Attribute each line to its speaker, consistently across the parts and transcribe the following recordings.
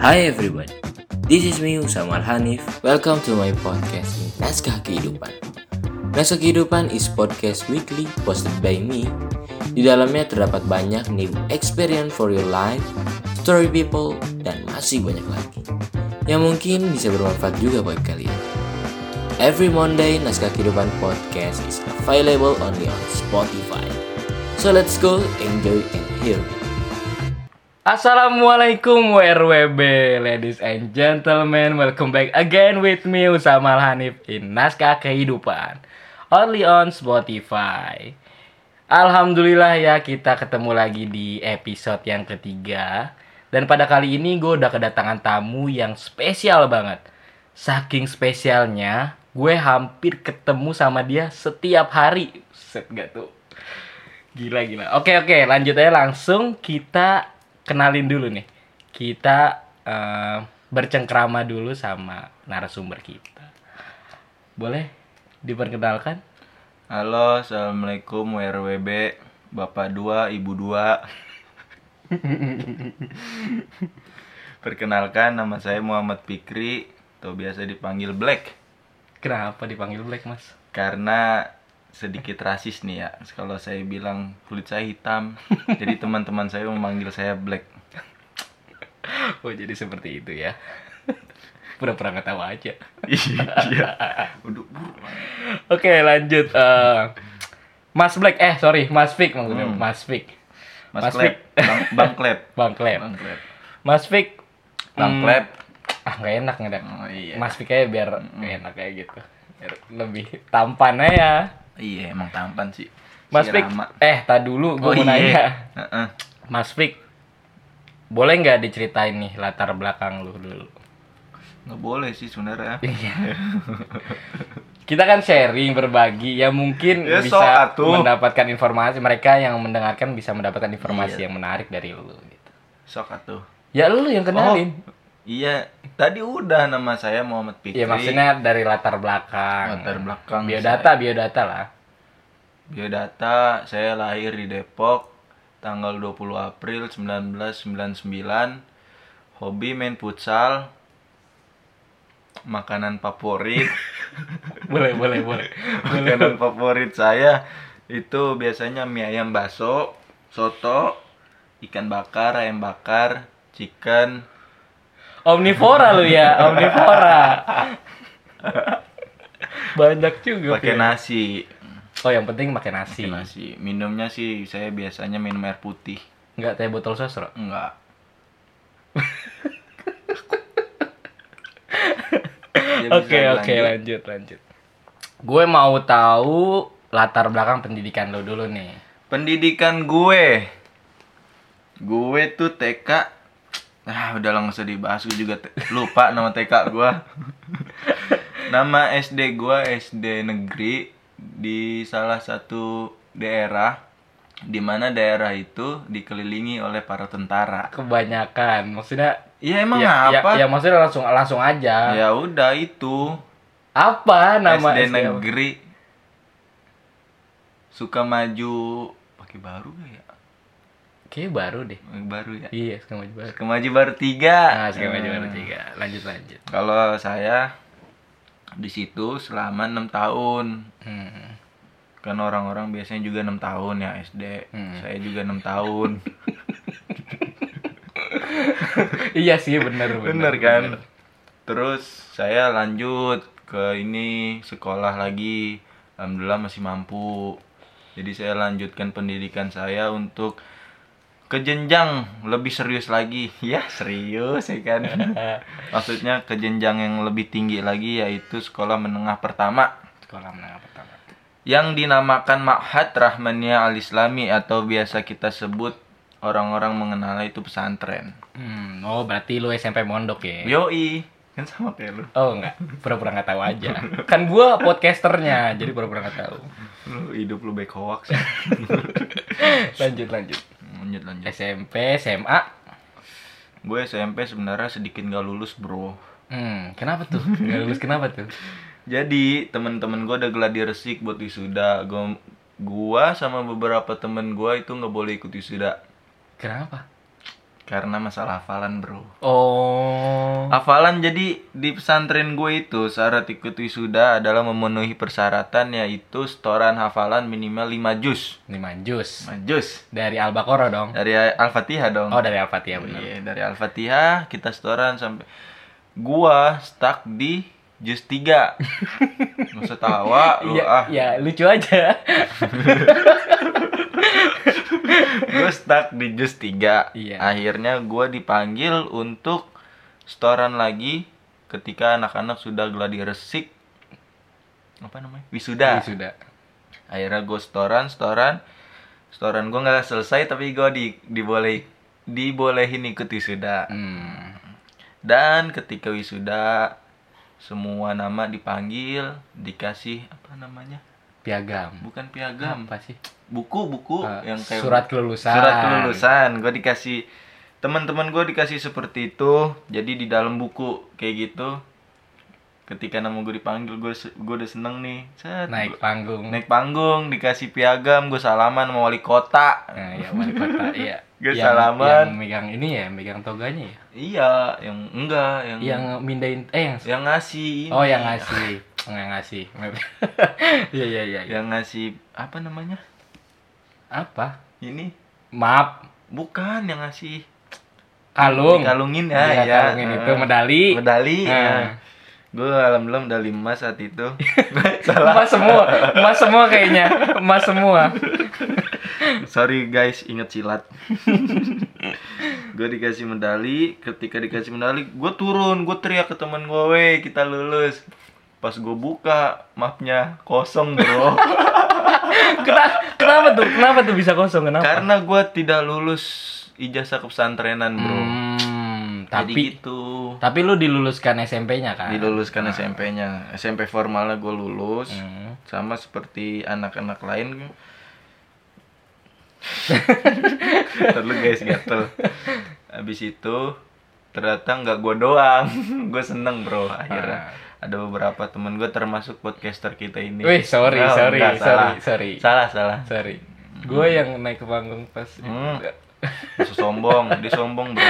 Speaker 1: Hi everyone, this is me Usama Hanif. Welcome to my podcast Naskah Kehidupan. Naskah Kehidupan is podcast weekly posted by me. Di dalamnya terdapat banyak new experience for your life, story people, dan masih banyak lagi. Yang mungkin bisa bermanfaat juga buat kalian. Every Monday, Naskah Kehidupan Podcast is available only on Spotify. So let's go, enjoy and hear it.
Speaker 2: Assalamualaikum WRWB Ladies and gentlemen Welcome back again with me Usama Hanif In Naskah Kehidupan Only on Spotify Alhamdulillah ya kita ketemu lagi di episode yang ketiga Dan pada kali ini gue udah kedatangan tamu yang spesial banget Saking spesialnya Gue hampir ketemu sama dia setiap hari Set gak tuh Gila gila. Oke oke, lanjut aja langsung kita kenalin dulu nih. Kita eh, bercengkrama dulu sama narasumber kita. Boleh diperkenalkan?
Speaker 3: Halo, Assalamualaikum WRWB Bapak dua, Ibu dua Perkenalkan, nama saya Muhammad Fikri Atau biasa dipanggil Black
Speaker 2: Kenapa dipanggil Black Mas?
Speaker 3: Karena sedikit rasis nih ya Kalau saya bilang kulit saya hitam Jadi teman-teman saya memanggil saya Black
Speaker 2: Oh jadi seperti itu ya. Pura-pura nggak tahu aja.
Speaker 3: Iya Waduh, bu.
Speaker 2: Oke lanjut. eh, Mas Black, eh sorry Mas Fik maksudnya
Speaker 3: Hmm.
Speaker 2: Mas Fik.
Speaker 3: Mas, Klep, Bang, Bang Klep
Speaker 2: Bang Klep. Hmm.
Speaker 3: Bang Klep
Speaker 2: Mas Fik. hmm,
Speaker 3: Bang Klep
Speaker 2: ah nggak enak nggak enak.
Speaker 3: Oh, iya.
Speaker 2: Mas Fik aja biar enak kayak gitu Biar lebih tampan aja
Speaker 3: Iya, emang tampan sih
Speaker 2: Mas
Speaker 3: Si
Speaker 2: Fik
Speaker 3: Rama.
Speaker 2: eh tak dulu gue
Speaker 3: Oh
Speaker 2: mau nanya
Speaker 3: iya Heeh.
Speaker 2: Mas Fik boleh nggak diceritain nih latar belakang lu dulu
Speaker 3: Nggak boleh sih sebenarnya Iya.
Speaker 2: kita kan sharing berbagi ya mungkin
Speaker 3: Ya, so
Speaker 2: bisa
Speaker 3: atuh.
Speaker 2: mendapatkan informasi mereka yang mendengarkan bisa mendapatkan informasi
Speaker 3: Iya.
Speaker 2: yang menarik dari lu gitu
Speaker 3: Sok atuh
Speaker 2: ya lu yang kenalin
Speaker 3: Oh, iya, tadi udah nama saya Muhammad Fikri.
Speaker 2: ya maksudnya dari latar belakang
Speaker 3: Latar belakang
Speaker 2: biodata biodata lah
Speaker 3: biodata saya lahir di Depok tanggal 20 April 1999. Hobi main futsal. Makanan favorit,
Speaker 2: boleh boleh boleh
Speaker 3: makanan favorit saya itu biasanya mie ayam baso, soto, ikan bakar, ayam bakar, chicken.
Speaker 2: Omnivora lu ya, omnivora. Banyak juga. Fir.
Speaker 3: Pakai nasi.
Speaker 2: Oh, yang penting pakai nasi.
Speaker 3: Pakai nasi. Minumnya sih saya biasanya minum air putih.
Speaker 2: Enggak teh botol sosro.
Speaker 3: Enggak.
Speaker 2: Oke, oke, lanjut, lanjut. Gue mau tahu latar belakang pendidikan lu dulu nih.
Speaker 3: Pendidikan gue. Gue tuh TK. Ah, udah lah nggak usah dibahas gue juga te- lupa nama TK gue. nama SD gue SD negeri di salah satu daerah di mana daerah itu dikelilingi oleh para tentara.
Speaker 2: Kebanyakan, maksudnya
Speaker 3: Iya emang
Speaker 2: ya,
Speaker 3: apa?
Speaker 2: ya, maksudnya langsung langsung aja.
Speaker 3: ya udah itu.
Speaker 2: Apa nama
Speaker 3: SD,
Speaker 2: SD?
Speaker 3: negeri suka maju pakai baru gak ya
Speaker 2: Kayaknya baru deh.
Speaker 3: Pakai baru ya
Speaker 2: Iya, sekarang maju baru.
Speaker 3: suka maju baru tiga
Speaker 2: Nah, sekarang maju baru
Speaker 3: Hmm.
Speaker 2: tiga. Lanjut, lanjut.
Speaker 3: kalau saya di situ selama enam tahun
Speaker 2: Hmm.
Speaker 3: kan orang-orang biasanya juga enam tahun ya SD
Speaker 2: Hmm.
Speaker 3: saya juga enam tahun
Speaker 2: iya sih, bener, bener.
Speaker 3: bener kan terus saya lanjut ke ini sekolah lagi alhamdulillah masih mampu jadi saya lanjutkan pendidikan saya untuk ke jenjang lebih serius lagi ya serius ya kan maksudnya ke jenjang yang lebih tinggi lagi yaitu sekolah menengah pertama
Speaker 2: Sekolah menengah pertama.
Speaker 3: yang dinamakan Ma'had Rahmania Al-Islami atau biasa kita sebut orang-orang mengenalnya itu pesantren
Speaker 2: Hmm, oh berarti lu SMP mondok ya?
Speaker 3: yoi kan sama kayak lu
Speaker 2: Oh enggak, pura-pura nggak tahu aja. Kan gua podcasternya, jadi pura-pura nggak tahu.
Speaker 3: Lu hidup lu back hoax. ya.
Speaker 2: Lanjut lanjut.
Speaker 3: lanjut lanjut.
Speaker 2: SMP, SMA.
Speaker 3: Gue SMP sebenarnya sedikit gak lulus bro.
Speaker 2: Hmm, kenapa tuh? Nggak lulus kenapa tuh?
Speaker 3: Jadi temen-temen gue udah geladi resik buat wisuda. Gue gua sama beberapa temen gue itu nggak boleh ikut wisuda.
Speaker 2: Kenapa?
Speaker 3: karena masalah hafalan bro
Speaker 2: Oh.
Speaker 3: Hafalan jadi di pesantren gue itu syarat ikut wisuda adalah memenuhi persyaratan yaitu setoran hafalan minimal 5 juz.
Speaker 2: Ini manjus.
Speaker 3: 5 juz
Speaker 2: Dari Al-Baqarah dong.
Speaker 3: dari Al-Fatihah dong.
Speaker 2: Oh, dari Al-Fatihah benar.
Speaker 3: Iya, dari Al-Fatihah kita setoran sampai gua stuck di juz 3. Nggak usah tawa lu
Speaker 2: Iya,
Speaker 3: ah.
Speaker 2: ya, lucu aja.
Speaker 3: Gue stuck di juz 3.
Speaker 2: Iya.
Speaker 3: Akhirnya gua dipanggil untuk setoran lagi ketika anak-anak sudah gladi resik apa namanya? Wisuda.
Speaker 2: Iya, Sudah.
Speaker 3: akhirnya gue setoran setoran setoran gue nggak selesai tapi gue di diboleh dibolehin ikut wisuda
Speaker 2: Hmm.
Speaker 3: dan ketika wisuda semua nama dipanggil dikasih apa namanya
Speaker 2: Piagam.
Speaker 3: bukan piagam
Speaker 2: Apa sih?
Speaker 3: buku buku
Speaker 2: Eh,
Speaker 3: yang kayak
Speaker 2: surat kelulusan.
Speaker 3: surat kelulusan gue dikasih teman-teman gue dikasih seperti itu jadi di dalam buku kayak gitu ketika nama gue dipanggil gue gue udah seneng nih Set,
Speaker 2: Naik panggung.
Speaker 3: naik panggung dikasih piagam gue salaman sama wali kota
Speaker 2: Nah, ya wali kota. Iya.
Speaker 3: Gue
Speaker 2: Yang-
Speaker 3: salaman.
Speaker 2: Yang megang ini ya, yang megang toganya ya.
Speaker 3: iya yang enggak yang
Speaker 2: Yang mindahin eh yang
Speaker 3: yang ngasih ini.
Speaker 2: Oh, yang ngasih. Oh, Yang ngasih. Iya, iya, iya.
Speaker 3: yang ngasih apa namanya
Speaker 2: Apa?
Speaker 3: ini
Speaker 2: Maaf.
Speaker 3: bukan yang ngasih
Speaker 2: Kalung.
Speaker 3: kalungin ya
Speaker 2: Iya,
Speaker 3: ya.
Speaker 2: kalungin itu, medali.
Speaker 3: medali ya.
Speaker 2: Ah.
Speaker 3: gue alhamdulillah medali emas saat itu
Speaker 2: Emas semua, emas semua kayaknya, emas semua.
Speaker 3: sorry guys inget silat gue dikasih medali ketika dikasih medali gue turun gue teriak ke temen gue weh kita lulus pas gue buka mapnya kosong bro
Speaker 2: Kenapa, kenapa tuh? Kenapa tuh bisa kosong? Kenapa?
Speaker 3: Karena gue tidak lulus ijazah kepesantrenan bro.
Speaker 2: Hmm,
Speaker 3: Jadi
Speaker 2: tapi
Speaker 3: gitu.
Speaker 2: tapi lu diluluskan SMP-nya kan?
Speaker 3: Diluluskan SMP-nya. SMP formalnya gue lulus.
Speaker 2: Hmm.
Speaker 3: Sama seperti anak-anak lain. Terlalu guys gatel. Habis itu ternyata nggak gue doang. gue seneng bro akhirnya. Ada beberapa temen gue termasuk podcaster kita ini.
Speaker 2: Ah. Wih, sorry,
Speaker 3: Oh,
Speaker 2: sorry, sorry,
Speaker 3: enggak, salah.
Speaker 2: sorry.
Speaker 3: Salah, salah.
Speaker 2: Sorry. Gue yang naik ke panggung pas.
Speaker 3: Hmm. Nggak usah sombong, dia sombong bro.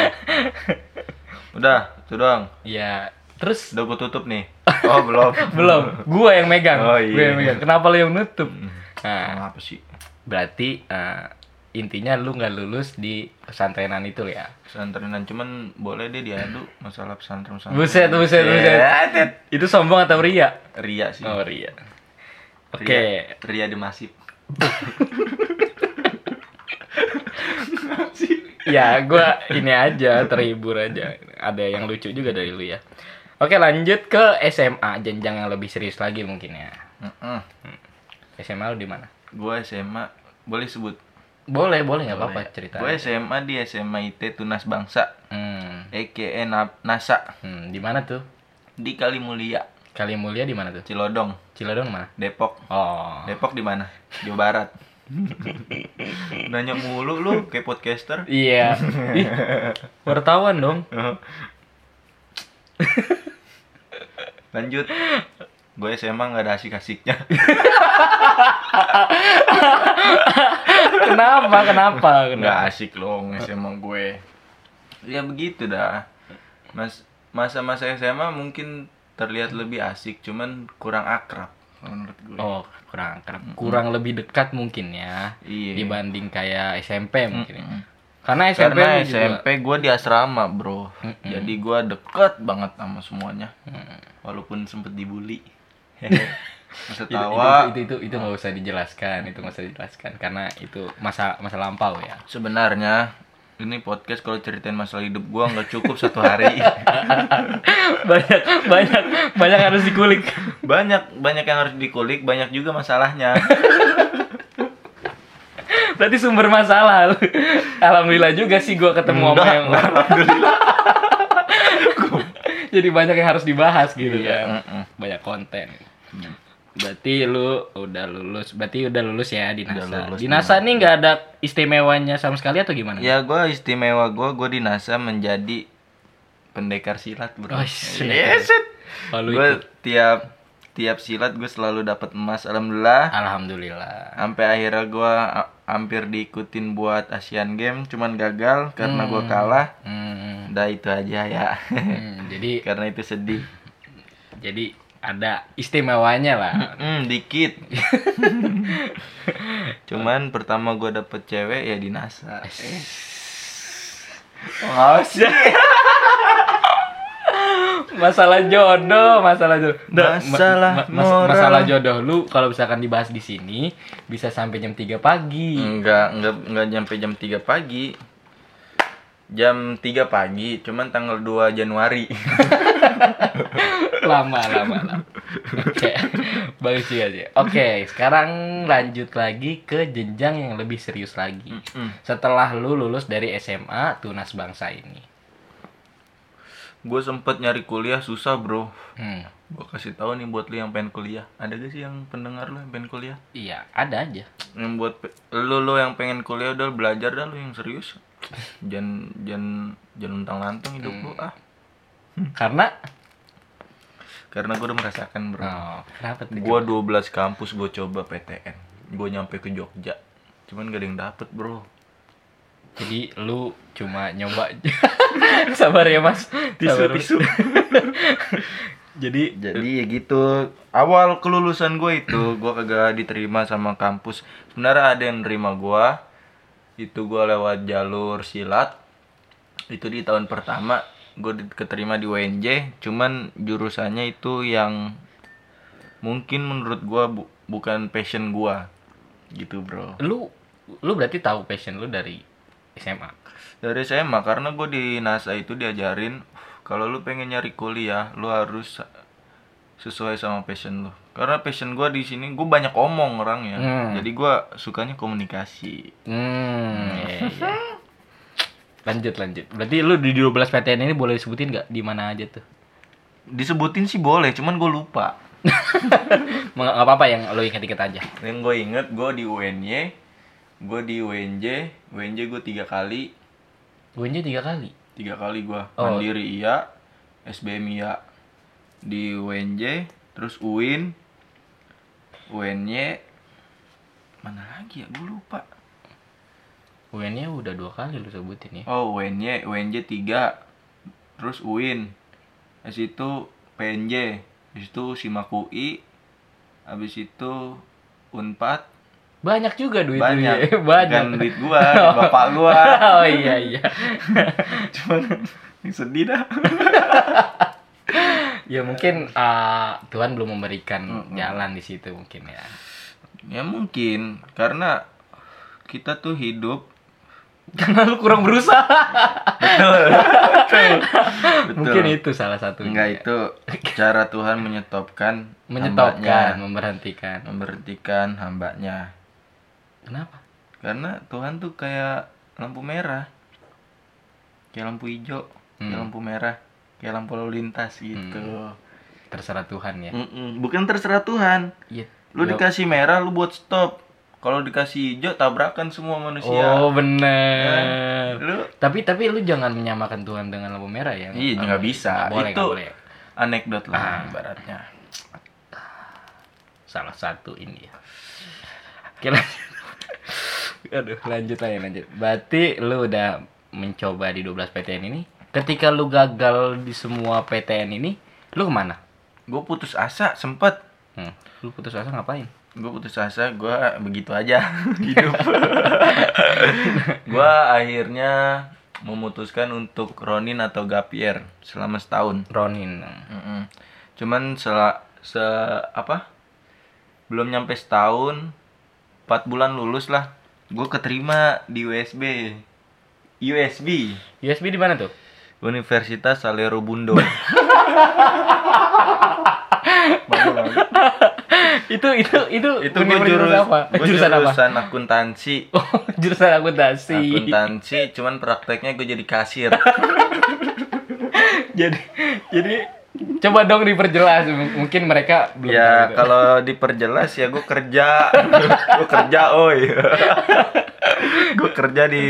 Speaker 3: Udah, itu doang.
Speaker 2: Ya, terus
Speaker 3: Udah gue tutup nih. Oh belum.
Speaker 2: belum. Gue yang megang.
Speaker 3: Oh,
Speaker 2: Gue
Speaker 3: iya.
Speaker 2: yang megang. Kenapa lu yang nutup? Nah,
Speaker 3: Emang apa sih?
Speaker 2: berarti eh, intinya lu nggak lulus di pesantrenan itu ya?
Speaker 3: Pesantrenan cuman boleh deh diadu masalah pesantren pesantren.
Speaker 2: Buset, buset, buset.
Speaker 3: buset.
Speaker 2: Itu sombong atau ria?
Speaker 3: Ria sih.
Speaker 2: Oh, ria. Oke.
Speaker 3: Iya. Ria, Ria di masif.
Speaker 2: ya gua ini aja terhibur aja ada yang lucu juga dari lu ya oke lanjut ke SMA jenjang yang lebih serius lagi mungkin ya
Speaker 3: Mm-mm.
Speaker 2: SMA lu di mana
Speaker 3: Gue SMA boleh sebut.
Speaker 2: boleh boleh nggak apa-apa cerita
Speaker 3: Gue SMA di SMA IT Tunas Bangsa, E
Speaker 2: hmm,
Speaker 3: EKN NASA
Speaker 2: hmm, di mana tuh
Speaker 3: di Kalimulia,
Speaker 2: Kalimulia di mana tuh
Speaker 3: Cilodong,
Speaker 2: Cilodong mana
Speaker 3: Depok.
Speaker 2: oh
Speaker 3: Depok di mana? Jawa Barat. Nanya mulu lu kayak podcaster.
Speaker 2: iya Ih, wartawan dong
Speaker 3: Lanjut. Gue SMA nggak ada asik-asiknya.
Speaker 2: kenapa kenapa
Speaker 3: Nggak
Speaker 2: kenapa
Speaker 3: asik loh SMA gue. Ya begitu dah. Mas masa-masa SMA mungkin terlihat lebih asik, cuman kurang akrab menurut gue.
Speaker 2: oh kurang akrab. kurang lebih dekat mungkin ya
Speaker 3: Iya.
Speaker 2: dibanding kayak SMP mungkin ya. karena SMP
Speaker 3: Karena
Speaker 2: lu juga-
Speaker 3: SMP gue di asrama bro, jadi gue deket banget sama semuanya, walaupun sempet dibully. Masa
Speaker 2: itu, itu
Speaker 3: tawa.
Speaker 2: itu itu itu nggak usah dijelaskan itu nggak usah dijelaskan karena itu masa masa lampau ya
Speaker 3: Sebenarnya ini podcast kalau ceritain masalah hidup gua nggak cukup satu hari.
Speaker 2: banyak banyak banyak harus dikulik
Speaker 3: banyak banyak yang harus dikulik, banyak juga masalahnya.
Speaker 2: berarti sumber masalah lu. alhamdulillah juga sih gua ketemu sama yang jadi banyak yang harus dibahas gitu ya
Speaker 3: Mm-mm.
Speaker 2: banyak konten berarti lu udah lulus berarti udah lulus Iya. ya di
Speaker 3: Udah
Speaker 2: NASA
Speaker 3: lulus
Speaker 2: di
Speaker 3: di
Speaker 2: NASA nih nggak ada istimewanya sama sekali atau gimana
Speaker 3: ya gua istimewa gua, gua di NASA menjadi pendekar silat bro.
Speaker 2: Oh, shit.
Speaker 3: Yes, shit.
Speaker 2: Oh, lu
Speaker 3: Gua
Speaker 2: ikut.
Speaker 3: tiap tiap silat gue selalu dapat emas alhamdulillah.
Speaker 2: alhamdulillah
Speaker 3: Sampai akhirnya gua a- hampir diikutin buat Asian Games cuman gagal karena gua kalah.
Speaker 2: Hmm,
Speaker 3: Udah itu aja ya.
Speaker 2: hmm, jadi
Speaker 3: karena itu sedih.
Speaker 2: jadi ada istimewanya lah.
Speaker 3: Hmm, dikit. cuman pertama gua dapet cewek ya di NASA.
Speaker 2: Oh, sih. masalah jodoh, masalah jodoh. Duh,
Speaker 3: Masalah
Speaker 2: mas-
Speaker 3: moral.
Speaker 2: masalah jodoh lu kalau misalkan dibahas di sini bisa sampai jam 3 pagi.
Speaker 3: Enggak, enggak enggak nyampe jam 3 pagi. Jam 3 pagi, cuman tanggal 2 Januari.
Speaker 2: Lama, lama, lama. Oke. Bagus juga sih. Oke, sekarang lanjut lagi ke jenjang yang lebih serius lagi. Setelah lu lulus dari SMA Tunas Bangsa ini.
Speaker 3: gue sempet nyari kuliah susah, Bro.
Speaker 2: Hmm.
Speaker 3: Gue kasih tahu nih buat lu yang pengen kuliah. Ada gak sih yang pendengar lu yang pengen kuliah?
Speaker 2: Iya, ada aja.
Speaker 3: Yang buat pe- lu lu yang pengen kuliah udah belajar dah lu yang serius. Jangan jangan jangan lantang hidup lu ah.
Speaker 2: Karena
Speaker 3: Karena gue udah merasakan, Bro.
Speaker 2: oh, kenapa tuh?
Speaker 3: Gue 12 kampus gue coba PTN. Gue nyampe ke Jogja. Cuman gak ada yang dapet, Bro.
Speaker 2: Jadi lu cuma nyoba Sabar ya mas Sabar, Mas. Jadi
Speaker 3: jadi ya gitu awal kelulusan gue itu gue kagak diterima sama kampus sebenarnya ada yang nerima gue itu gue lewat jalur silat itu di tahun pertama gue keterima di UNJ cuman jurusannya itu yang mungkin menurut gue bu- bukan passion gue gitu bro
Speaker 2: lu lu berarti tahu passion lu dari SMA
Speaker 3: dari saya mah karena gue di NASA itu diajarin kalau lu pengen nyari kuliah lu harus sesuai sama passion lu karena passion gue di sini gue banyak omong orang ya
Speaker 2: Hmm.
Speaker 3: jadi gue sukanya komunikasi
Speaker 2: Hmm iya, iya. Lanjut lanjut Berarti lu di 12 PTN ini boleh disebutin nggak di mana aja tuh
Speaker 3: disebutin sih boleh cuman gue lupa
Speaker 2: Nggak nggak apa-apa yang lu inget-inget aja
Speaker 3: yang gue inget gue di UNY gue di UNJ UNJ gue tiga kali
Speaker 2: Gue aja tiga kali
Speaker 3: tiga kali gue
Speaker 2: Oh.
Speaker 3: mandiri iya SBM iya di UNJ terus UIN UNY mana lagi ya gue lupa
Speaker 2: UN-nya udah dua kali lu sebutin ya
Speaker 3: oh UNY UNJ tiga terus UIN habis itu PNJ habis itu SIMAK UI habis itu Unpad
Speaker 2: Banyak juga duit lu ya.
Speaker 3: banyak
Speaker 2: Banyak
Speaker 3: Bukan duit gua duit bapak gua
Speaker 2: Oh iya iya
Speaker 3: cuman sedih dah
Speaker 2: Ya mungkin eh, Tuhan belum memberikan
Speaker 3: Mm-mm.
Speaker 2: jalan di situ mungkin ya.
Speaker 3: ya mungkin karena kita tuh hidup
Speaker 2: Karena lu kurang berusaha.
Speaker 3: Betul.
Speaker 2: Mungkin itu salah satunya.
Speaker 3: Enggak itu cara Tuhan menyetopkan
Speaker 2: menyetopkan,
Speaker 3: hambanya,
Speaker 2: memberhentikan.
Speaker 3: memberhentikan hambanya.
Speaker 2: Kenapa?
Speaker 3: Karena Tuhan tuh kayak lampu merah, kayak lampu hijau, kayak
Speaker 2: Hmm.
Speaker 3: lampu merah, kayak lampu lalu lintas gitu.
Speaker 2: Terserah Tuhan ya.
Speaker 3: Mm-mm. Bukan terserah Tuhan.
Speaker 2: Iya.
Speaker 3: Lu
Speaker 2: Lu-
Speaker 3: dikasih merah, lu buat stop. Kalau dikasih hijau, tabrakan semua manusia.
Speaker 2: Oh bener.
Speaker 3: Lu
Speaker 2: Tapi tapi lu jangan menyamakan Tuhan dengan lampu merah ya.
Speaker 3: Iya,
Speaker 2: Nggak
Speaker 3: nggak bisa.
Speaker 2: boleh,
Speaker 3: itu
Speaker 2: nggak boleh.
Speaker 3: anekdot
Speaker 2: Ah.
Speaker 3: lah ibaratnya.
Speaker 2: Salah satu ini ya. Oke lanjut. Aduh, lanjut aja lanjut. Berarti lu udah mencoba di 12 PTN ini. Ketika lu gagal di semua PTN ini, lu kemana?
Speaker 3: Gue putus asa sempet
Speaker 2: Hmm. Lu putus asa ngapain?
Speaker 3: gue putus asa gue begitu aja hidup gue akhirnya memutuskan untuk Ronin atau Gapier selama setahun
Speaker 2: Ronin.
Speaker 3: Mm-mm. cuman sela se apa belum nyampe setahun empat bulan lulus lah gue keterima di USB USB
Speaker 2: USB di mana tuh?
Speaker 3: Universitas Salero Bundo Baru lagi.
Speaker 2: itu itu itu
Speaker 3: itu gue
Speaker 2: universitas
Speaker 3: jurus
Speaker 2: apa?
Speaker 3: gua
Speaker 2: jurusan apa?
Speaker 3: jurusan akuntansi
Speaker 2: Oh, jurusan akuntansi.
Speaker 3: akuntansi Nah, cuman prakteknya gue jadi kasir
Speaker 2: Jadi jadi coba dong diperjelas M- mungkin mereka belum
Speaker 3: ya
Speaker 2: tahu itu.
Speaker 3: kalau diperjelas ya gue kerja gue kerja oi gue kerja di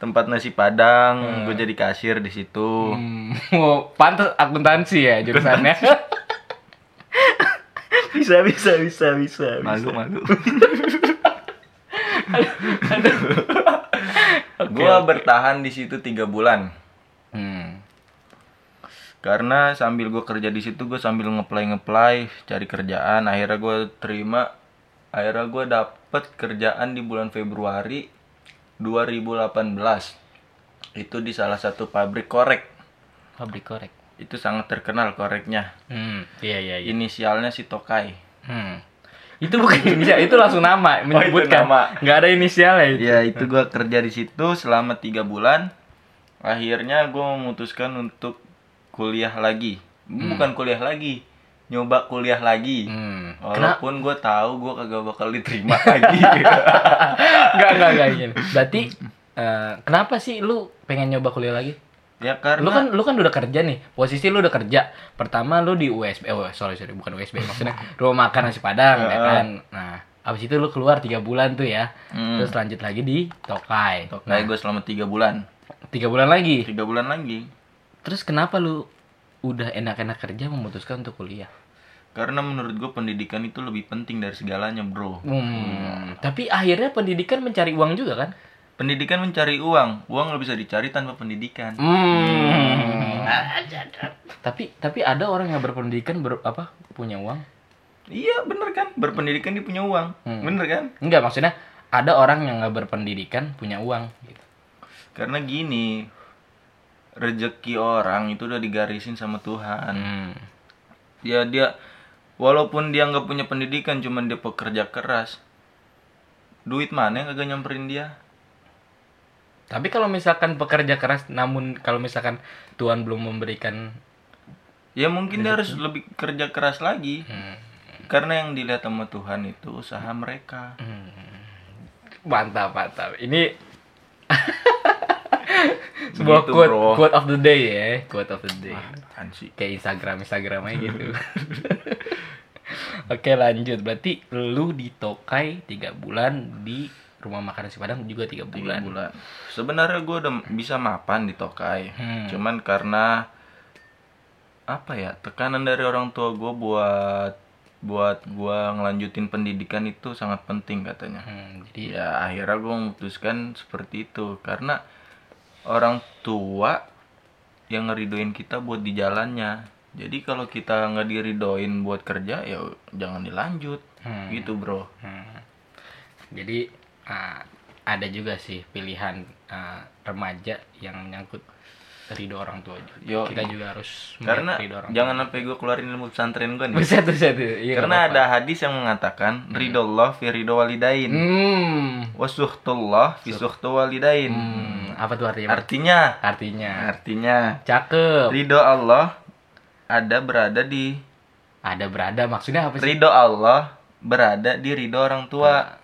Speaker 3: tempat nasi padang gue jadi kasir di situ
Speaker 2: Hmm, oh, pantas akuntansi ya jurusannya. Iya,
Speaker 3: bisa bisa bisa bisa malu malu
Speaker 2: Oke,
Speaker 3: Gua
Speaker 2: oke.
Speaker 3: bertahan di situ tiga bulan
Speaker 2: Hmm.
Speaker 3: karena sambil gue kerja di situ gue sambil ngeplay ngeplay cari kerjaan akhirnya gue terima akhirnya gue dapet kerjaan di bulan Februari 2018 itu di salah satu pabrik korek
Speaker 2: Pabrik korek.
Speaker 3: itu sangat terkenal koreknya
Speaker 2: Hmm, iya iya iya.
Speaker 3: inisialnya si Tokai
Speaker 2: Hmm. Itu bukan inisial, itu langsung nama menyebutkan.
Speaker 3: Oh, nama.
Speaker 2: Nggak ada inisialnya itu.
Speaker 3: ya itu gue kerja di situ selama tiga bulan akhirnya gue memutuskan untuk kuliah lagi bukan kuliah lagi nyoba kuliah lagi
Speaker 2: Hmm. Kenapa?
Speaker 3: Walaupun gue tahu gue kagak bakal diterima lagi.
Speaker 2: Enggak enggak enggak gini. Berarti eh, kenapa sih lu pengen nyoba kuliah lagi?
Speaker 3: ya karena
Speaker 2: Lu kan lu kan udah kerja nih. Posisi lu udah kerja. Pertama lu di USB. Oh, sorry sorry, bukan USB. Maksudnya rumah makan nasi Padang ya kan. Nah, abis itu lu keluar tiga bulan tuh ya.
Speaker 3: Hmm.
Speaker 2: Terus lanjut lagi di Tokai. Nah,
Speaker 3: Tokai gue selama tiga bulan.
Speaker 2: Tiga bulan lagi.
Speaker 3: Tiga bulan lagi.
Speaker 2: Terus kenapa lu udah enak-enak kerja memutuskan untuk kuliah?
Speaker 3: Karena menurut gue pendidikan itu lebih penting dari segalanya bro.
Speaker 2: Hmm. Tapi akhirnya pendidikan mencari uang juga kan?
Speaker 3: Pendidikan mencari uang. Uang nggak bisa dicari tanpa pendidikan.
Speaker 2: Hmm. tapi tapi ada orang yang berpendidikan ber, apa punya uang?
Speaker 3: Iya bener kan. Berpendidikan dia punya uang.
Speaker 2: Hmm.
Speaker 3: Bener kan?
Speaker 2: Enggak maksudnya ada orang yang nggak berpendidikan punya uang. Gitu.
Speaker 3: Karena gini. Rezeki orang itu udah digarisin sama Tuhan.
Speaker 2: Hmm.
Speaker 3: ya dia walaupun dia nggak punya pendidikan cuman dia pekerja keras duit mana yang kagak nyamperin dia
Speaker 2: Tapi kalau misalkan pekerja keras, namun kalau misalkan Tuhan belum memberikan,
Speaker 3: ya mungkin dia harus lebih kerja keras lagi karena yang dilihat sama Tuhan itu usaha mereka
Speaker 2: mantap mantap. Ini sebuah
Speaker 3: Begitu,
Speaker 2: quote
Speaker 3: Gitu, bro.
Speaker 2: quote of the day ya, quote of the day.
Speaker 3: Apaan Kan sih
Speaker 2: kayak Instagram Instagram aja gitu. Oke lanjut, berarti lu di Tokai tiga bulan di rumah makan nasi Padang juga tiga bulan.
Speaker 3: Tiga bulan sebenarnya gue udah bisa mapan di Tokai
Speaker 2: Hmm.
Speaker 3: cuman karena apa ya tekanan dari orang tua gue buat buat gue ngelanjutin pendidikan itu sangat penting katanya
Speaker 2: Hmm, jadi
Speaker 3: Ya akhirnya gue memutuskan seperti itu karena orang tua yang ngeridoin kita buat di jalannya. Jadi kalau kita nggak diridoin buat kerja ya jangan dilanjut
Speaker 2: Hmm.
Speaker 3: gitu bro.
Speaker 2: hmm. jadi ah, ada juga sih pilihan ah, remaja yang menyangkut ridho orang tua.
Speaker 3: Yo,
Speaker 2: Kita juga harus melihat
Speaker 3: Karena
Speaker 2: ridho Iya, gitu orang
Speaker 3: jangan sampai gue keluarin ilmu pesantren gue
Speaker 2: tua.
Speaker 3: nih.
Speaker 2: Satu satu. Iya,
Speaker 3: Karena
Speaker 2: nggak
Speaker 3: ada
Speaker 2: apa-apa.
Speaker 3: hadis yang mengatakan ridho Allah fi ridho walidain.
Speaker 2: Hmm.
Speaker 3: Wasuhtullah fi suhtu walidain.
Speaker 2: Hmm, Apa tuh artinya?
Speaker 3: Artinya
Speaker 2: Artinya.
Speaker 3: artinya
Speaker 2: Cakep.
Speaker 3: ridho Allah ada berada di
Speaker 2: Ada berada maksudnya apa sih?
Speaker 3: Ridho Allah berada di ridho orang tua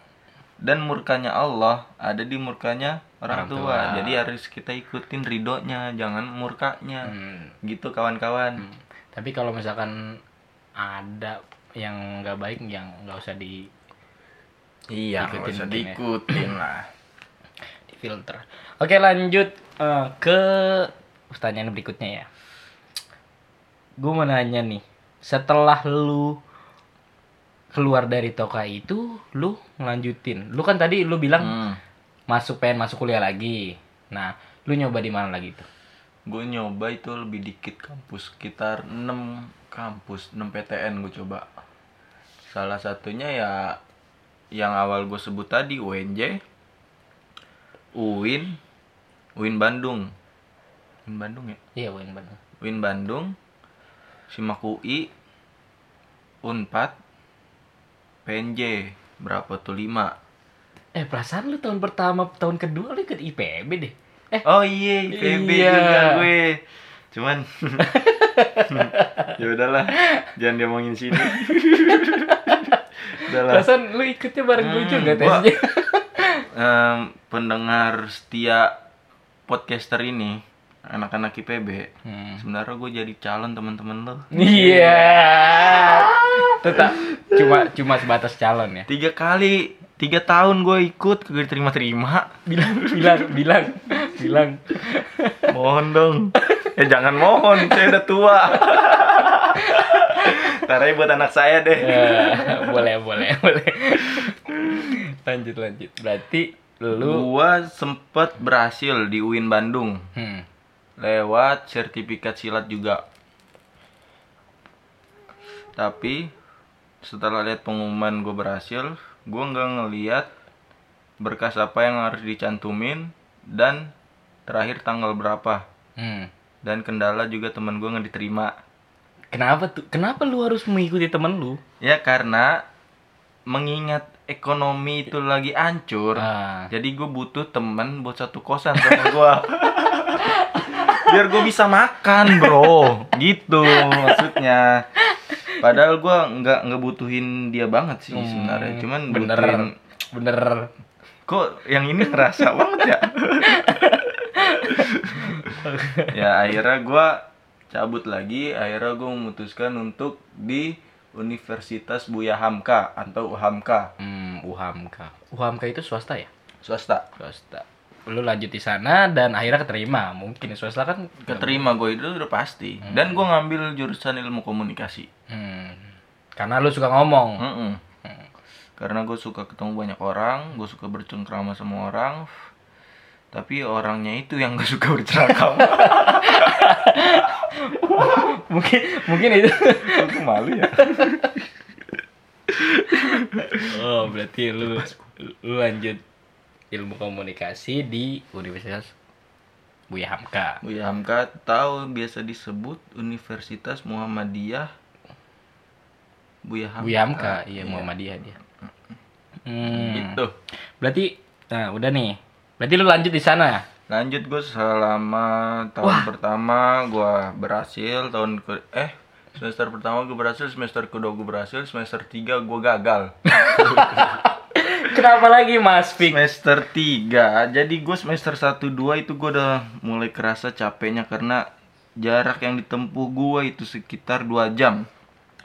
Speaker 3: dan murkanya Allah ada di murkanya
Speaker 2: Orang
Speaker 3: orang, tua.
Speaker 2: tua.
Speaker 3: Jadi harus kita ikutin ridhonya, jangan murkanya.
Speaker 2: Hmm.
Speaker 3: Gitu kawan-kawan.
Speaker 2: Tapi kalau misalkan ada yang nggak baik, yang nggak usah di,
Speaker 3: Iya,
Speaker 2: Ikutin
Speaker 3: nggak
Speaker 2: mungkin
Speaker 3: usah
Speaker 2: ya.
Speaker 3: diikutin lah.
Speaker 2: di filter. Oke lanjut eh, ke pertanyaan berikutnya ya. Gue mau nanya nih, setelah lu keluar dari toka itu, lu ngelanjutin. Lu kan tadi lu bilang
Speaker 3: Hmm.
Speaker 2: masuk pengen masuk kuliah lagi. Nah, lu nyoba di mana lagi tuh?
Speaker 3: Gue nyoba itu lebih dikit kampus, sekitar 6 kampus, 6 PTN gue coba. Salah satunya ya yang awal gue sebut tadi UNJ, UIN, UIN Bandung. UIN Bandung ya?
Speaker 2: Iya, Win Bandung.
Speaker 3: Win Bandung, Simak UI, Unpad, PNJ, berapa tuh 5?
Speaker 2: Eh, perasaan lu tahun pertama, tahun kedua lu ikut IPB deh. Eh,
Speaker 3: Oh iya, IPB
Speaker 2: Iya.
Speaker 3: juga gue. Cuman ya udahlah, jangan diomongin sini. udahlah.
Speaker 2: Perasaan lu ikutnya bareng gue
Speaker 3: Hmm,
Speaker 2: juga
Speaker 3: gua-
Speaker 2: tesnya.
Speaker 3: Em, pendengar setia podcaster ini, anak-anak IPB,
Speaker 2: Hmm.
Speaker 3: sebenarnya gue jadi calon teman-teman lo.
Speaker 2: Iya. Tetap cuma cuma sebatas calon ya.
Speaker 3: Tiga kali, tiga tahun gue ikut, kagak diterima-terima.
Speaker 2: Bilang bilang bilang bilang.
Speaker 3: mohon dong ya jangan mohon saya udah tua
Speaker 2: Iya.
Speaker 3: Taranya buat anak saya deh
Speaker 2: Eh, boleh boleh boleh. lanjut lanjut berarti lu
Speaker 3: Gua sempet berhasil di UIN Bandung
Speaker 2: hmm.
Speaker 3: lewat sertifikat silat juga. Tapi setelah lihat pengumuman gue berhasil, gue nggak ngeliat berkas apa yang harus dicantumin dan terakhir tanggal berapa.
Speaker 2: Hmm.
Speaker 3: Dan kendala juga temen gue nggak diterima.
Speaker 2: kenapa tuh kenapa lu harus mengikuti temen lu
Speaker 3: Ya karena mengingat ekonomi itu lagi hancur,
Speaker 2: Ah.
Speaker 3: jadi gue butuh temen buat satu kosan sama gue. Biar gue bisa makan bro, gitu maksudnya. Padahal gue nggak ngebutuhin dia banget sih sebenarnya, cuman
Speaker 2: bener
Speaker 3: butuhin.
Speaker 2: bener
Speaker 3: Kok yang ini ngerasa banget ya? ya akhirnya gue cabut lagi, akhirnya gue memutuskan untuk di Universitas Buya Hamka atau UHAMKA.
Speaker 2: hmm, uhamka uhamka itu swasta ya
Speaker 3: swasta
Speaker 2: swasta lu lanjut di sana dan akhirnya keterima mungkin swasta kan
Speaker 3: keterima gue itu udah pasti dan gue ngambil jurusan ilmu komunikasi
Speaker 2: Hmm. karena lu suka ngomong
Speaker 3: Mm-mm. karena gue suka ketemu banyak orang gue suka bercengkrama sama orang tapi orangnya itu yang gak suka bercengkrama
Speaker 2: mungkin mungkin itu
Speaker 3: aku malu ya
Speaker 2: oh berarti lu lu lanjut ilmu komunikasi di Universitas Buya Hamka
Speaker 3: Buya Hamka tahu biasa disebut Universitas Muhammadiyah Buya Hamka,
Speaker 2: Buya Hamka iya Muhammadiyah dia hmm.
Speaker 3: gitu
Speaker 2: berarti nah udah nih berarti lu lanjut di sana
Speaker 3: lanjut gue selama tahun pertama gue berhasil tahun ke eh semester pertama gue berhasil semester kedua gue berhasil semester tiga gue gagal
Speaker 2: kenapa lagi Mas Fik
Speaker 3: semester tiga jadi gue semester satu dua itu gue udah mulai kerasa capeknya karena jarak yang ditempuh gue itu sekitar dua jam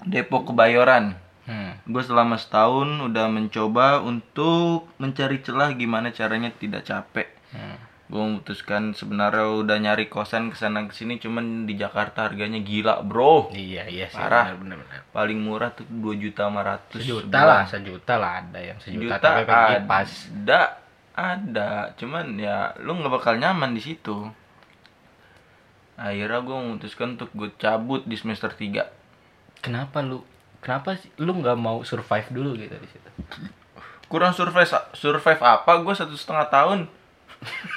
Speaker 3: Depok ke Bayoran
Speaker 2: hmm.
Speaker 3: gue selama setahun udah mencoba untuk mencari celah gimana caranya tidak capek
Speaker 2: Hmm.
Speaker 3: gue memutuskan sebenarnya udah nyari kosan kesana kesini cuman di Jakarta harganya gila bro
Speaker 2: iya iya sih
Speaker 3: Parah.
Speaker 2: benar benar
Speaker 3: paling murah tuh dua juta lima ratus
Speaker 2: sejuta lah sejuta lah ada yang sejuta,
Speaker 3: juta
Speaker 2: tapi pengen kipas
Speaker 3: ada ada cuman ya lu nggak bakal nyaman di situ akhirnya gue memutuskan untuk gue cabut di semester 3
Speaker 2: kenapa lu kenapa sih lu nggak mau survive dulu gitu di situ
Speaker 3: kurang survive survive apa gue satu setengah tahun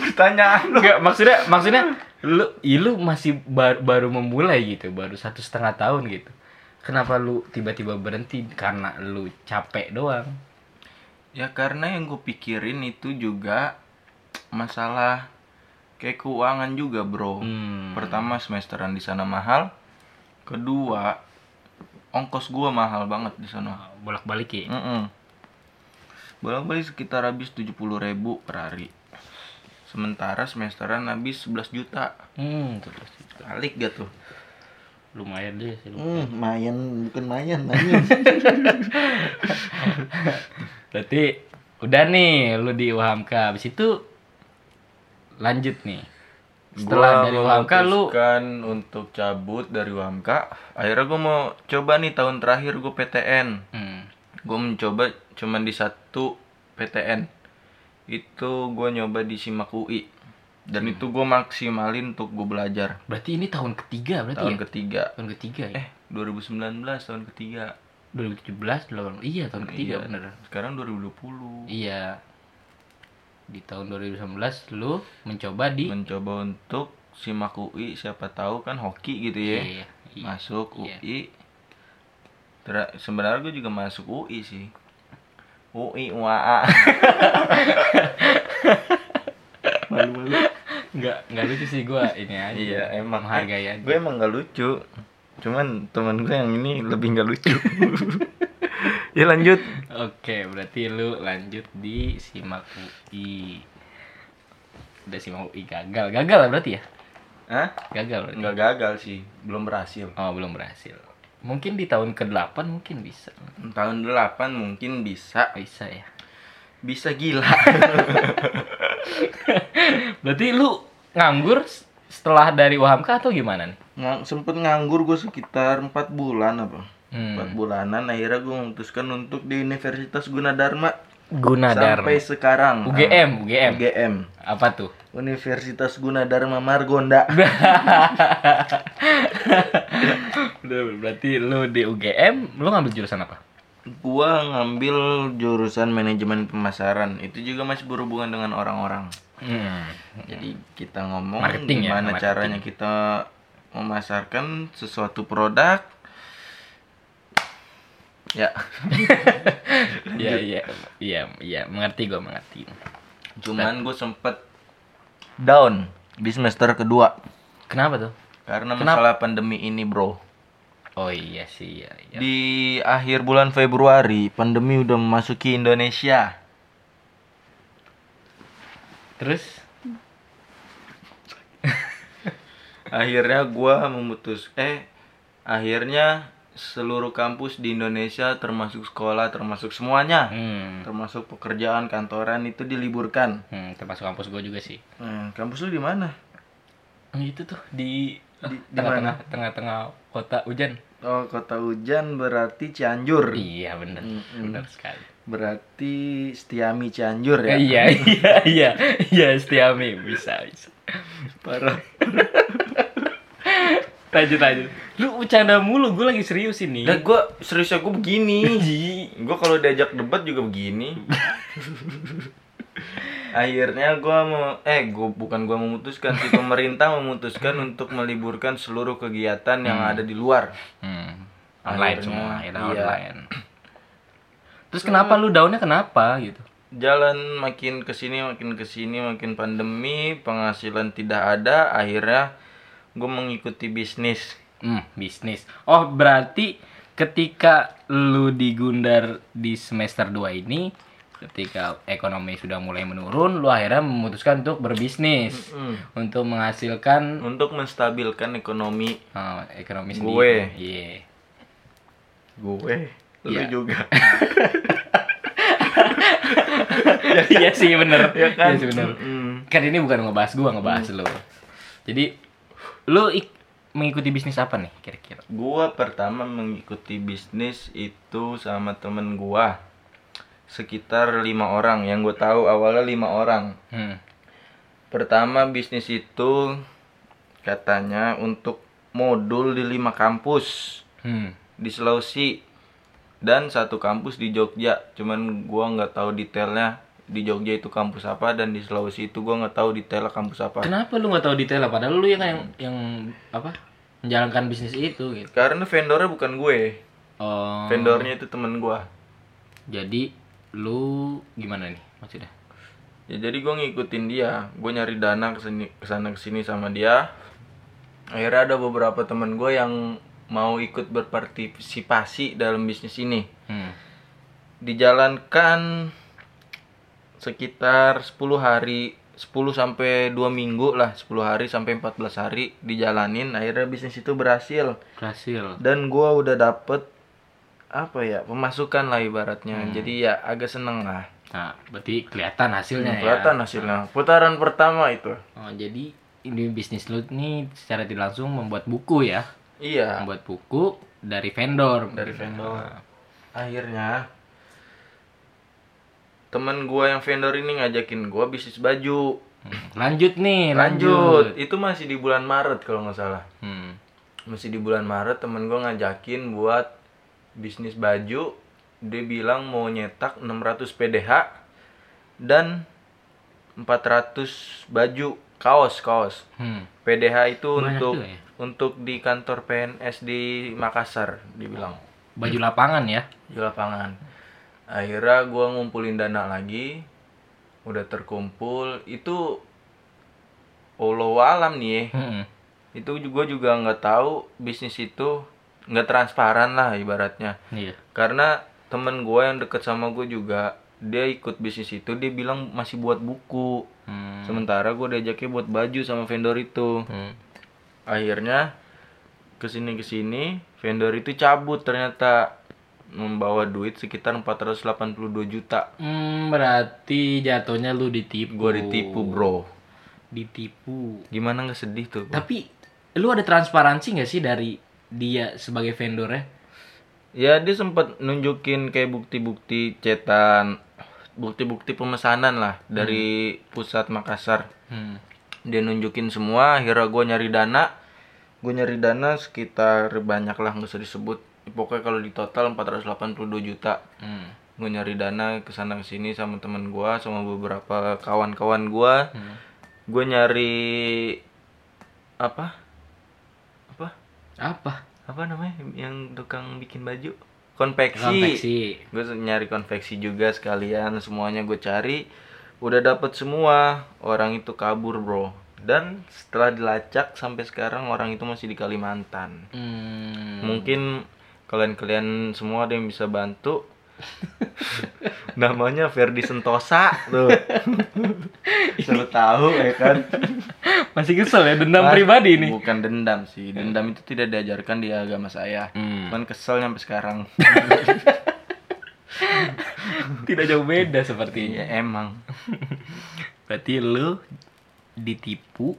Speaker 3: pertanyaan lu
Speaker 2: Enggak, maksudnya maksudnya lu ya lu masih bar- baru memulai gitu, baru satu setengah tahun gitu. Kenapa lu tiba-tiba berhenti? Karena lu capek doang.
Speaker 3: Ya karena yang gue pikirin itu juga masalah kayak keuangan juga bro.
Speaker 2: Hmm.
Speaker 3: Pertama semesteran di sana mahal. Kedua ongkos gua mahal banget di sana.
Speaker 2: Bolak-balik ya.
Speaker 3: Mm-mm. Bolak-balik sekitar habis 70 ribu per hari. Sementara semesteran habis 11 juta.
Speaker 2: Hmm, terus
Speaker 3: Kalik gak tuh?
Speaker 2: lumayan deh sih. lu.
Speaker 3: Hmm, mayan bukan mayan,
Speaker 2: Berarti udah nih lu di UHAMKA. Habis itu lanjut nih. Setelah dari UHAMKA lu
Speaker 3: kan untuk cabut dari Wamka, akhirnya gue mau coba nih tahun terakhir gue PTN.
Speaker 2: hmm,
Speaker 3: gue mencoba cuman di satu PTN itu gue nyoba di simak UI dan
Speaker 2: Hmm.
Speaker 3: itu gue maksimalin untuk gue belajar
Speaker 2: berarti ini tahun ketiga berarti
Speaker 3: tahun
Speaker 2: ya?
Speaker 3: ketiga
Speaker 2: tahun ketiga ya?
Speaker 3: eh 2019 tahun ketiga
Speaker 2: 2017, 2018. Iya, tahun ketiga
Speaker 3: Iya.
Speaker 2: bener.
Speaker 3: sekarang 2020
Speaker 2: Iya. Di tahun 2019 lu mencoba di
Speaker 3: mencoba untuk simak UI siapa tahu kan hoki gitu ya
Speaker 2: Iya, iya.
Speaker 3: masuk
Speaker 2: Iya.
Speaker 3: UI Tera- sebenarnya gue juga masuk UI sih UI UAA malu-malu
Speaker 2: Enggak, enggak lucu sih gua ini aja.
Speaker 3: Iya emang
Speaker 2: menghargai aja.
Speaker 3: Gue emang gak lucu Cuman temen gue yang ini lebih gak lucu Ya lanjut
Speaker 2: Oke, berarti lu lanjut di Simak UI. Udah Simak UI gagal. Gagal lah berarti ya?
Speaker 3: Hah?
Speaker 2: Gagal berarti.
Speaker 3: Gak gagal sih Belum berhasil
Speaker 2: Oh, belum berhasil. Mungkin di tahun ke-8 mungkin bisa.
Speaker 3: Tahun 8 mungkin bisa
Speaker 2: Bisa ya.
Speaker 3: Bisa gila
Speaker 2: Berarti lu nganggur s- setelah dari Wahamka atau gimana nih?
Speaker 3: Ngang, Sempet nganggur gue sekitar 4 bulan apa
Speaker 2: Hmm.
Speaker 3: empat bulanan akhirnya gue memutuskan untuk di Universitas Gunadarma
Speaker 2: Gunadarma.
Speaker 3: sampai sekarang Ah,
Speaker 2: UGM, UGM.
Speaker 3: UGM
Speaker 2: Apa tuh?
Speaker 3: Universitas Gunadarma Margonda
Speaker 2: Udah, Berarti lu di UGM, lu ngambil jurusan apa?
Speaker 3: gua ngambil jurusan manajemen pemasaran itu juga masih berhubungan dengan orang-orang
Speaker 2: Hmm.
Speaker 3: jadi kita ngomong
Speaker 2: Marketing ya,
Speaker 3: gimana
Speaker 2: marketing.
Speaker 3: caranya kita memasarkan sesuatu produk ya
Speaker 2: Iya, iya. Iya, iya, mengerti gua mengerti.
Speaker 3: cuman gue sempet down di semester kedua
Speaker 2: Kenapa tuh?
Speaker 3: karena
Speaker 2: Kenapa?
Speaker 3: masalah pandemi ini bro
Speaker 2: Oh iya sih, iya, iya.
Speaker 3: di akhir bulan Februari pandemi udah memasuki Indonesia
Speaker 2: Terus
Speaker 3: akhirnya gua memutus eh akhirnya seluruh kampus di Indonesia termasuk sekolah termasuk semuanya
Speaker 2: hmm,
Speaker 3: termasuk pekerjaan kantoran itu diliburkan
Speaker 2: hmm, termasuk kampus gua juga sih.
Speaker 3: Hmm, kampus lu di mana
Speaker 2: Hmm, Itu tuh Ah, di
Speaker 3: Di- di
Speaker 2: tengah-tengah tengah-tengah kota hujan.
Speaker 3: oh kota hujan berarti Cianjur
Speaker 2: Iya, bener Bener sekali.
Speaker 3: berarti Setiami Cianjur ya
Speaker 2: Iya, iya, iya. Iya, Setiami bisa, bisa.
Speaker 3: parah
Speaker 2: Lanjut, lanjut. Lu bercanda mulu, gua lagi serius ini.
Speaker 3: dan gue serius aku begini
Speaker 2: Ji.
Speaker 3: gue kalau diajak debat juga begini akhirnya gue mau eh gue bukan gue memutuskan si pemerintah memutuskan untuk meliburkan seluruh kegiatan yang ada di luar
Speaker 2: Hmm. Online
Speaker 3: Akhirnya,
Speaker 2: semua, ya
Speaker 3: iya.
Speaker 2: online. Terus kenapa lu daunnya kenapa gitu?
Speaker 3: jalan makin kesini makin kesini makin pandemi penghasilan tidak ada akhirnya gue mengikuti bisnis
Speaker 2: Hmm, bisnis. Oh, berarti ketika lu di Gundar di semester 2 ini ketika ekonomi sudah mulai menurun, lu akhirnya memutuskan untuk berbisnis
Speaker 3: Hmm.
Speaker 2: untuk menghasilkan
Speaker 3: untuk menstabilkan ekonomi
Speaker 2: eh, ekonomi sendiri.
Speaker 3: Gue.
Speaker 2: Iya.
Speaker 3: gue lu
Speaker 2: Iya.
Speaker 3: juga
Speaker 2: Iya sih bener.
Speaker 3: ya kan
Speaker 2: Iya sih bener.
Speaker 3: Mm.
Speaker 2: Kan ini bukan ngebahas gua, ngebahas lu. Jadi lu ik- mengikuti bisnis apa nih kira-kira?
Speaker 3: Gua pertama mengikuti bisnis itu sama temen gua sekitar lima orang yang gue tahu awalnya lima orang
Speaker 2: Hmm.
Speaker 3: pertama bisnis itu katanya untuk modul di lima kampus
Speaker 2: Hmm.
Speaker 3: di Sulawesi dan satu kampus di Jogja cuman gua nggak tahu detailnya di Jogja itu kampus apa dan di Sulawesi itu gua nggak tahu detailnya kampus apa
Speaker 2: Kenapa lu nggak tahu detail padahal lu yang yang, yang apa? menjalankan bisnis itu gitu.
Speaker 3: karena vendornya bukan gue
Speaker 2: Oh.
Speaker 3: vendornya itu temen gua
Speaker 2: Jadi lu gimana nih maksudnya?
Speaker 3: ya jadi gue ngikutin dia gue nyari dana kesini kesana kesini sama dia akhirnya ada beberapa temen gue yang mau ikut berpartisipasi dalam bisnis ini
Speaker 2: Hmm.
Speaker 3: dijalankan sekitar 10 hari 10 sampai 2 minggu lah 10 hari sampai 14 hari dijalanin akhirnya bisnis itu berhasil
Speaker 2: Berhasil.
Speaker 3: dan gue udah dapet apa ya pemasukan lah ibaratnya
Speaker 2: Hmm.
Speaker 3: jadi ya agak seneng lah
Speaker 2: Nah, berarti kelihatan hasilnya ya.
Speaker 3: Hmm, kelihatan hasilnya putaran pertama itu
Speaker 2: Oh, jadi ini bisnis lu nih secara tidak langsung membuat buku ya.
Speaker 3: Iya.
Speaker 2: Membuat buku dari vendor. Hmm.
Speaker 3: Dari vendor. Akhirnya temen gua yang vendor ini ngajakin gua bisnis baju.
Speaker 2: Hmm. Lanjut nih,
Speaker 3: Lanjut.
Speaker 2: lanjut.
Speaker 3: Itu masih di bulan Maret kalau nggak salah.
Speaker 2: Hmm.
Speaker 3: Masih di bulan Maret temen gua ngajakin buat bisnis baju. Dia bilang mau nyetak 600 PDH dan 400 baju kaos kaos.
Speaker 2: Hmm.
Speaker 3: PDH itu
Speaker 2: Banyak
Speaker 3: untuk
Speaker 2: juga ya?
Speaker 3: untuk di kantor PNS di Makassar dibilang.
Speaker 2: Baju lapangan ya.
Speaker 3: di lapangan akhirnya gua ngumpulin dana lagi udah terkumpul itu Allah alam nih ya.
Speaker 2: Hmm.
Speaker 3: itu juga juga nggak tahu bisnis itu nggak transparan lah ibaratnya
Speaker 2: Iya.
Speaker 3: karena temen gua yang deket sama gue juga dia ikut bisnis itu dia bilang masih buat buku
Speaker 2: Hmm.
Speaker 3: sementara gue diajaknya buat baju sama vendor itu
Speaker 2: Hmm.
Speaker 3: akhirnya kesini kesini vendor itu cabut ternyata membawa duit sekitar 482 juta
Speaker 2: Hmm, berarti jatuhnya lu ditipu.
Speaker 3: gue ditipu bro
Speaker 2: Ditipu.
Speaker 3: gimana nggak sedih tuh bro?
Speaker 2: Tapi lu ada transparansi nggak sih dari dia sebagai vendornya?
Speaker 3: Ya dia sempat nunjukin kayak bukti-bukti cetan, bukti-bukti pemesanan lah dari pusat Makassar.
Speaker 2: Hmm.
Speaker 3: Dia nunjukin semua, akhirnya gue nyari dana. Gue nyari dana sekitar banyak lah nggak usah disebut. Pokoknya kalau di total 482 juta.
Speaker 2: Hmm.
Speaker 3: Gue nyari dana ke sana sini sama temen gue, sama beberapa kawan-kawan gue.
Speaker 2: hmm.
Speaker 3: Gue nyari apa? Apa?
Speaker 2: Apa?
Speaker 3: Apa namanya yang tukang bikin baju? Konveksi
Speaker 2: Konveksi.
Speaker 3: gue nyari konveksi juga sekalian semuanya gue cari udah dapet semua orang itu kabur bro dan setelah dilacak sampai sekarang orang itu masih di Kalimantan
Speaker 2: Hmm.
Speaker 3: mungkin kalian-kalian semua ada yang bisa bantu namanya Ferdi Sentosa tuh Selalu tahu ya kan
Speaker 2: Masih kesel ya dendam
Speaker 3: Mas,
Speaker 2: pribadi ini.
Speaker 3: bukan dendam sih dendam itu tidak diajarkan di agama saya
Speaker 2: Hmm.
Speaker 3: cuman kesel sampai sekarang
Speaker 2: Tidak jauh beda sepertinya.
Speaker 3: ya emang
Speaker 2: Iya. Berarti lu ditipu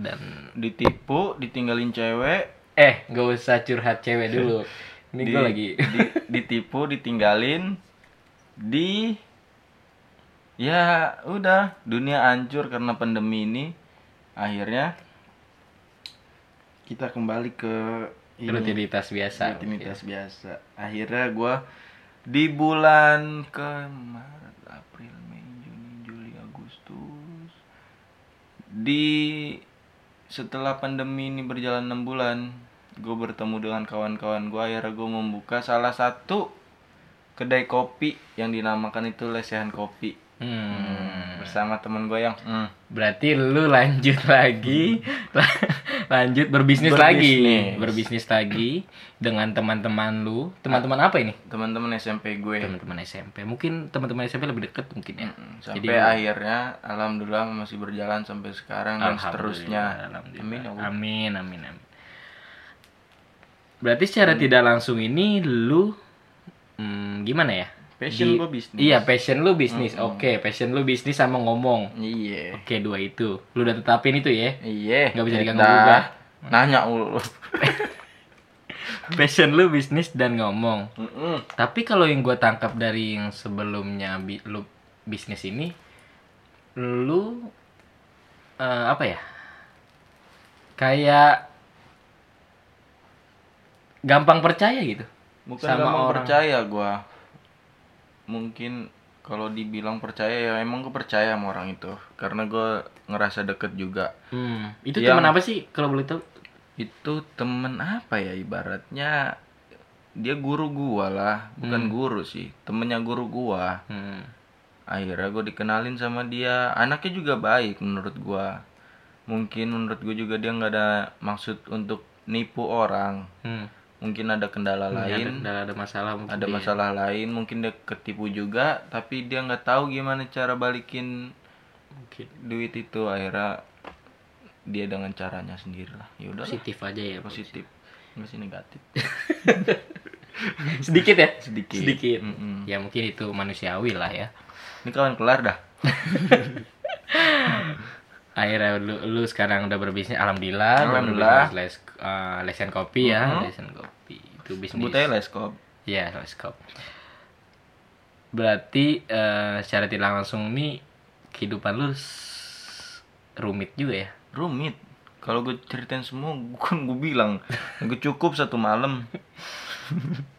Speaker 2: dan
Speaker 3: ditipu ditinggalin cewek
Speaker 2: eh gak usah curhat cewek dulu. Ini
Speaker 3: Di-
Speaker 2: gue lagi
Speaker 3: di- ditipu ditinggalin di ya udah dunia hancur karena pandemi ini akhirnya kita kembali ke ini,
Speaker 2: rutinitas biasa. iya.
Speaker 3: rutinitas biasa akhirnya gua di bulan ke Maret April Mei Juni Juli Agustus di setelah pandemi ini berjalan 6 bulan gue bertemu dengan kawan-kawan gue akhirnya gue membuka salah satu kedai kopi yang dinamakan itu lesehan kopi
Speaker 2: Hmm.
Speaker 3: bersama temen gue yang hmm,
Speaker 2: Berarti lu lanjut lagi, lanjut berbisnis,
Speaker 3: Berbisnis.
Speaker 2: lagi, berbisnis lagi dengan teman-teman lu. Teman-teman apa ini?
Speaker 3: teman-teman SMP gue
Speaker 2: Teman-teman SMP. Mungkin teman-teman SMP lebih deket mungkin ya.
Speaker 3: Mm, sampai
Speaker 2: Jadi-
Speaker 3: akhirnya alhamdulillah masih berjalan sampai sekarang dan
Speaker 2: Alhamdulillah,
Speaker 3: seterusnya
Speaker 2: alhamdulillah.
Speaker 3: amin ya Allah.
Speaker 2: amin, amin, amin. Berarti secara tidak langsung ini lu hmm, gimana ya?
Speaker 3: Passion
Speaker 2: Di-
Speaker 3: gua bisnis.
Speaker 2: Iya, passion lu bisnis. Oke, passion lu bisnis sama ngomong.
Speaker 3: Iya.
Speaker 2: Oke, dua itu. Lu udah tetapin itu ya.
Speaker 3: Iya.
Speaker 2: Nggak bisa
Speaker 3: Eta.
Speaker 2: diganggu juga.
Speaker 3: Nanya lu.
Speaker 2: Passion lu bisnis dan ngomong.
Speaker 3: Mm-mm.
Speaker 2: Tapi kalau yang gue tangkap dari yang sebelumnya bi- lu bisnis ini, lu eh, apa ya? Kayak gampang percaya gitu.
Speaker 3: Bukan
Speaker 2: Sama
Speaker 3: gampang
Speaker 2: orang.
Speaker 3: percaya gua. Mungkin kalau dibilang percaya ya emang gue percaya sama orang itu karena gua ngerasa deket juga.
Speaker 2: Hmm, itu
Speaker 3: Yang-
Speaker 2: teman apa sih kalau boleh tahu?
Speaker 3: Itu temen apa ya ibaratnya dia guru gua lah, bukan guru sih, temennya guru gua.
Speaker 2: Hmm.
Speaker 3: akhirnya gue dikenalin sama dia anaknya juga baik menurut gua mungkin menurut gue juga dia nggak ada maksud untuk nipu orang
Speaker 2: Hmm.
Speaker 3: mungkin ada
Speaker 2: Iya,
Speaker 3: kendala
Speaker 2: Ada,
Speaker 3: lain
Speaker 2: ada- ada masalah mungkin. iya.
Speaker 3: ada
Speaker 2: dia.
Speaker 3: masalah lain mungkin dia ketipu juga tapi dia nggak tahu gimana cara balikin
Speaker 2: Mungkin
Speaker 3: duit itu akhirnya dia dengan caranya sendiri lah ya udah
Speaker 2: positif aja ya.
Speaker 3: positif masih negatif
Speaker 2: Sedikit ya?
Speaker 3: Sedikit.
Speaker 2: Sedikit.
Speaker 3: Mm-mm.
Speaker 2: Ya mungkin itu manusiawi lah ya.
Speaker 3: ini kawan kelar dah
Speaker 2: akhirnya lu, lu sekarang udah berbisnis alhamdulillah udah
Speaker 3: Alhamdulillah. Mm-hmm.
Speaker 2: berbisnis les eh, lesen kopi ya lesen kopi itu bisnis
Speaker 3: sebut aja leskop
Speaker 2: ya les kopi berarti eh, secara tidak langsung nih kehidupan lu s- rumit juga ya
Speaker 3: rumit kalau gue ceritain semua kan gue bilang gue cukup satu malam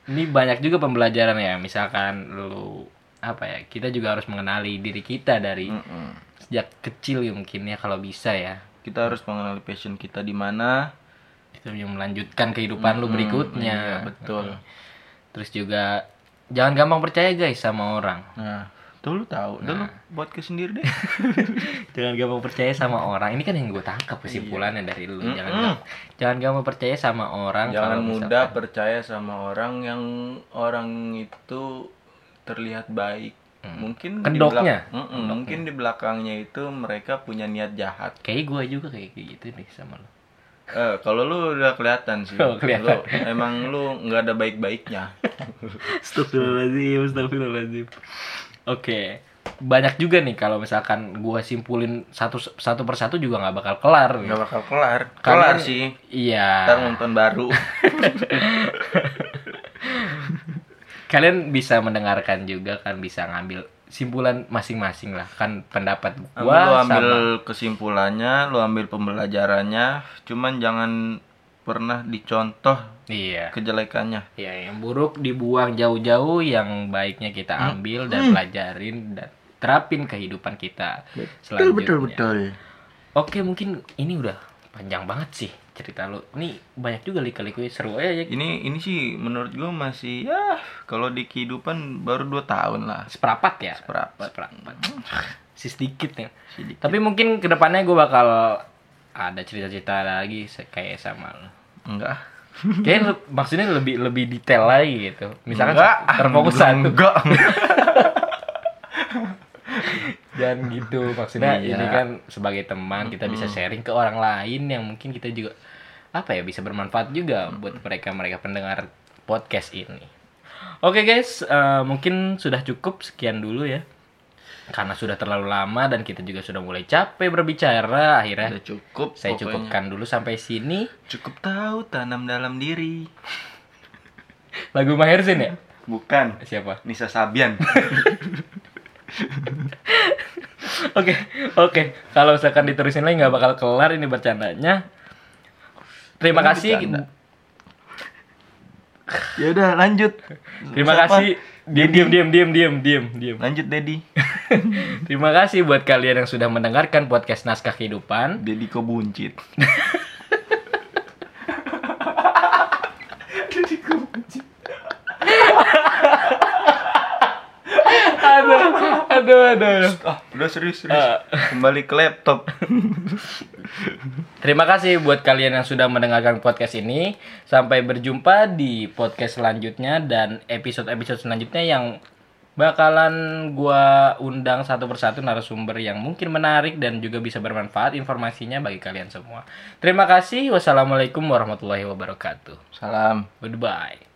Speaker 2: ini banyak juga pembelajaran ya misalkan lu apa ya kita juga harus mengenali diri kita dari
Speaker 3: Mm-mm.
Speaker 2: sejak kecil ya mungkin ya kalau bisa ya
Speaker 3: kita harus mengenali passion kita di mana
Speaker 2: itu yang melanjutkan kehidupan lu berikutnya
Speaker 3: Iya, betul
Speaker 2: Terus juga jangan gampang percaya guys sama orang.
Speaker 3: nah tuh lu tahu udah
Speaker 2: Nah.
Speaker 3: lu buat ke sendiri deh
Speaker 2: Jangan gampang percaya sama Iya. orang. Ini kan yang gue tangkap kesimpulannya dari lu. Jangan gamp- jangan gampang percaya sama orang.
Speaker 3: jangan
Speaker 2: kalau
Speaker 3: mudah percaya sama orang yang orang itu terlihat baik mungkin di
Speaker 2: Hmm. Kendoknya.
Speaker 3: belak- Mm-mm, mungkin di belakangnya itu mereka punya niat jahat
Speaker 2: Kayak gue juga kayak gitu deh sama lu.
Speaker 3: Eh, kalau lu udah kelihatan sih
Speaker 2: Oh, kelihatan.
Speaker 3: Lu- emang lu nggak ada baik baiknya
Speaker 2: Astagfirullahaladzim, astagfirullahaladzim. Oke. Banyak juga nih kalau misalkan gue simpulin satu satu persatu juga nggak bakal kelar.
Speaker 3: nggak bakal kelar
Speaker 2: Karena-
Speaker 3: kelar sih
Speaker 2: Iya.
Speaker 3: ntar nonton baru
Speaker 2: kalian bisa mendengarkan juga kan bisa ngambil simpulan masing-masing lah kan pendapat
Speaker 3: Lu
Speaker 2: gua
Speaker 3: ambil
Speaker 2: sama
Speaker 3: kesimpulannya, lu ambil pembelajarannya, cuman jangan pernah dicontoh
Speaker 2: iya
Speaker 3: kejelekannya.
Speaker 2: Ya, yang buruk dibuang jauh-jauh, yang baiknya kita
Speaker 3: Hmm.
Speaker 2: ambil dan pelajarin dan terapin kehidupan kita selanjutnya. Oke, mungkin ini udah panjang banget sih cerita lu. Ini banyak juga lika-likunya seru aja ya.
Speaker 3: Ini ini sih menurut gua masih ya kalau di kehidupan baru 2 tahun lah.
Speaker 2: Seperapat ya?
Speaker 3: Seperapat.
Speaker 2: Seperapat. Sis dikit ya.
Speaker 3: Sedikit.
Speaker 2: Tapi mungkin kedepannya gue bakal ada cerita-cerita lagi se- kayak sama lu.
Speaker 3: Enggak.
Speaker 2: Kayaknya le- maksudnya lebih lebih detail lagi gitu. Misalkan
Speaker 3: Enggak.
Speaker 2: terfokus satu.
Speaker 3: Enggak.
Speaker 2: dan gitu maksudnya
Speaker 3: Iya.
Speaker 2: ini kan sebagai teman kita bisa sharing ke orang lain yang mungkin kita juga apa ya bisa bermanfaat juga buat mereka mereka pendengar podcast ini oke guys eh, mungkin sudah cukup sekian dulu ya karena sudah terlalu lama dan kita juga sudah mulai capek berbicara akhirnya
Speaker 3: Udah cukup.
Speaker 2: Ya. saya
Speaker 3: pokoknya.
Speaker 2: cukupkan dulu sampai sini
Speaker 3: Cukup tahu tanam dalam diri.
Speaker 2: lagu Maher Zain ya
Speaker 3: Bukan.
Speaker 2: siapa
Speaker 3: Nisa Sabian.
Speaker 2: Oke, oke. Kalau misalkan diterusin lagi nggak bakal kelar ini bercandanya. Terima
Speaker 3: Ini
Speaker 2: kasih.
Speaker 3: bercanda. ya udah lanjut.
Speaker 2: Terima
Speaker 3: Siapa?
Speaker 2: kasih. Diam, diam, diam, diam, diam, diam, diam.
Speaker 3: Lanjut Dedi.
Speaker 2: Terima kasih buat kalian yang sudah mendengarkan podcast Naskah Kehidupan.
Speaker 3: Dedi kok buncit.
Speaker 2: Aduh, aduh, aduh. aduh.
Speaker 3: Ah, udah serius serius. Kembali ke laptop.
Speaker 2: Terima kasih buat kalian yang sudah mendengarkan podcast ini. Sampai berjumpa di podcast selanjutnya dan episode-episode selanjutnya yang bakalan gua undang satu persatu narasumber yang mungkin menarik dan juga bisa bermanfaat informasinya bagi kalian semua. Terima kasih. Wassalamualaikum warahmatullahi wabarakatuh.
Speaker 3: Salam.
Speaker 2: Goodbye.